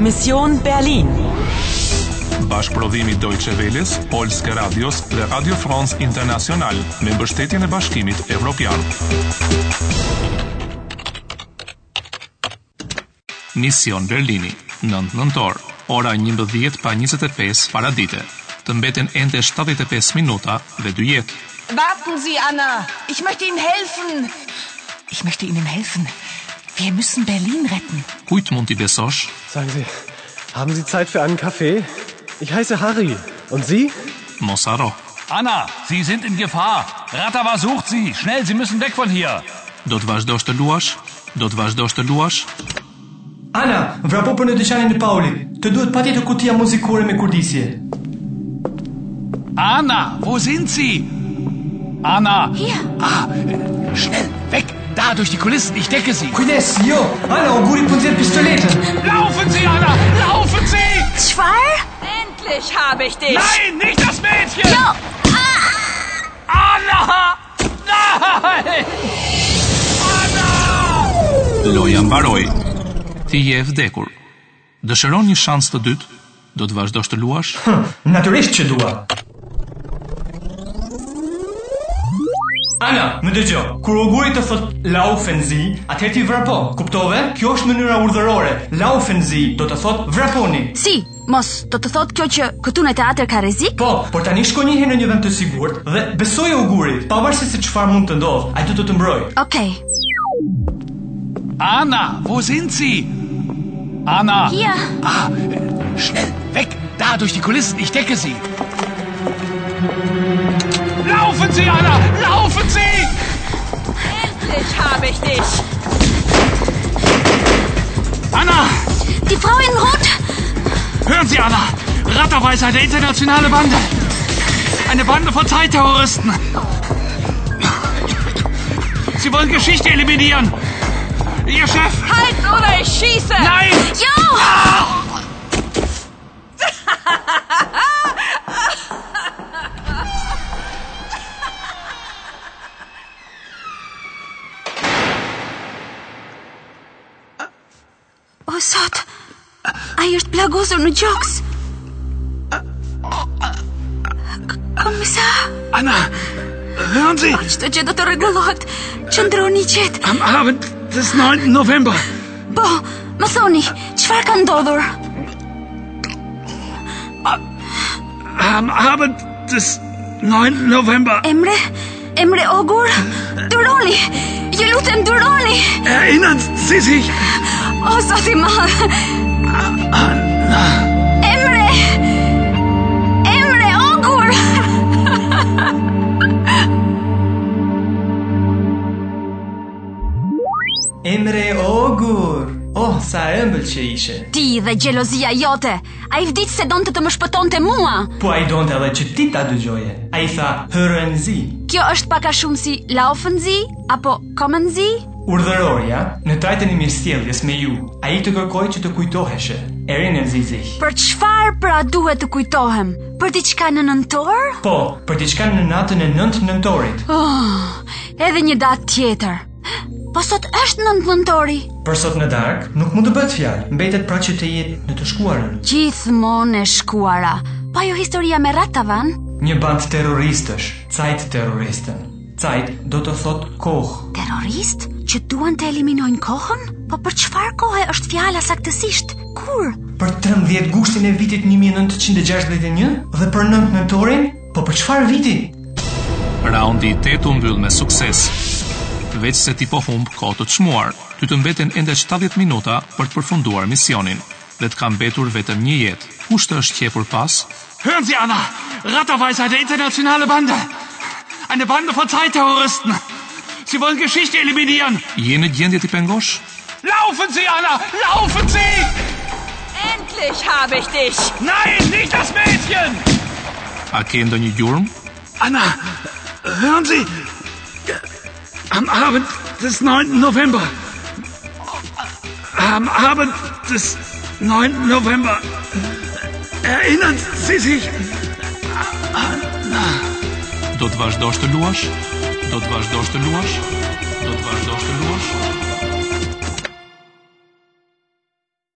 Mission Berlin. Bashkëprodhimi Deutsche Welles, Polske Radios dhe Radio France International me mbështetjen e Bashkimit Evropian. Mision Berlini, 9 nëntor, ora 11 pa 25 paradite. Të mbeten ende 75 minuta dhe 2 jetë. Warten Sie, Anna. Ich möchte Ihnen helfen. Ich möchte Ihnen helfen. Wir müssen Berlin retten. Kujt mund t'i besosh? Sagen Sie, haben Sie Zeit für einen Kaffee? Ich heiße Harry. Und Sie? Mos haro. Anna, Sie sind in Gefahr. Ratawa sucht Sie. Schnell, Sie müssen weg von hier. Do të vazhdosh të luash? Do të vazhdosh të luash? Ana, vrapo për në dyqanin e Paulit. Të duhet patjetër kutia muzikore me kurdisje. Anna, wo sind Sie? Anna. Hier. Ah, äh, schnell, weg. Da, durch die Kulissen. Ich decke Sie. Kujdes, jo. Ana, u guri punëzirë pistoletën. Laufen Sie, Anna. Laufen Sie. Schwar? Endlich habe ich dich. Nein, nicht das Mädchen. Anna. Nein. Anna. Loja mbaroi. Ti je e vdekur. Dëshiron një shans të dytë? Do të vazhdosh të luash? Hm, Natyrisht që dua. Ana, më dëgjo. Kur oguri të thot laufenzi, atëherë ti vrapo. Kuptove? Kjo është mënyra urdhërore. Laufenzi do të thot vraponi. Si, mos, do të thotë kjo që këtu në teatr ka rrezik? Po, por tani shko një herë në një vend të sigurt dhe besoj augurit, pavarësisht se çfarë mund të ndodh, ai do të të mbrojë. Okej. Anna, wo sind Sie? Anna. Hier. Ah, äh, schnell, weg. Da, durch die Kulissen. Ich decke Sie. Laufen Sie, Anna. Laufen Sie. Endlich habe ich dich. Anna, Die Frau in Rot. hören Sie, Anna. Rattawa ist eine internationale Bande. Eine Bande von Zeitterroristen. Sie wollen Geschichte eliminieren. Ihr Chef. Halt oder ich schieße. Nein. Jo! O sot. Ai është plagosur në gjoks. K- Komisar, Anna, hören Sie. çdo gjë do të rregullohet. Qëndroni qetë. Am Abend des 9. November. Po, më thoni, çfarë ka ndodhur? Am Abend des 9. November Emre, Emre Ogur, duroni. Ju lutem duroni. erinnern Sie sich O zot i madh. Emre. Emre Ogur. Emre Ogur. Oh, sa ëmbël që ishe. Ti dhe xhelozia jote. Ai vdiq se donte të më shpëtonte mua. Po ai donte edhe që ti ta dëgjoje. Ai tha, "Hërën zi." Kjo është pak a shumë si Laufenzi apo Komenzi? Urdhërorja, në trajtën e mirësjelljes me ju, ai të kërkoi që të kujtoheshe. Erinë Zizih. Për çfarë pra duhet të kujtohem? Për diçka në nëntor? Po, për diçka në natën e 9 nëntorit. Oh, edhe një datë tjetër. Po sot është nëntë nëntori. Për sot në darkë nuk mund të bëhet fjalë. Mbetet pra që të jetë në të shkuarën. Gjithmonë e shkuara. Pa jo historia me Ratavan, Një band terroristësh, Zeit terroristën. Zeit do të thot kohë. terrorist që duan të eliminojnë kohën? Po për çfarë kohe është fjala saktësisht? Kur? Për 13 gushtin e vitit 1961 dhe për 9 nëntorin, po për çfarë viti? Raundi i 8 u mbyll me sukses. Veç se ti po humb kohë të çmuar, ty të mbeten ende 70 minuta për të përfunduar misionin dhe të ka mbetur vetëm një jetë. Kush të është qepur pas? Hören Sie, Anna. Rattawa ist eine internationale Bande. Eine Bande von Zeitterroristen. Sie wollen Geschichte eliminieren. Je në gjendje ti pengosh? Laufen Sie, Anna. Laufen Sie. Endlich habe ich dich. Nein, nicht das Mädchen. A ke ndonjë gjurmë? Anna, hören Sie. Am Abend des 9. November. Am Abend des 9. November. Erinnern Sie sich Do të vazhdosh të luash? Do të vazhdosh të luash?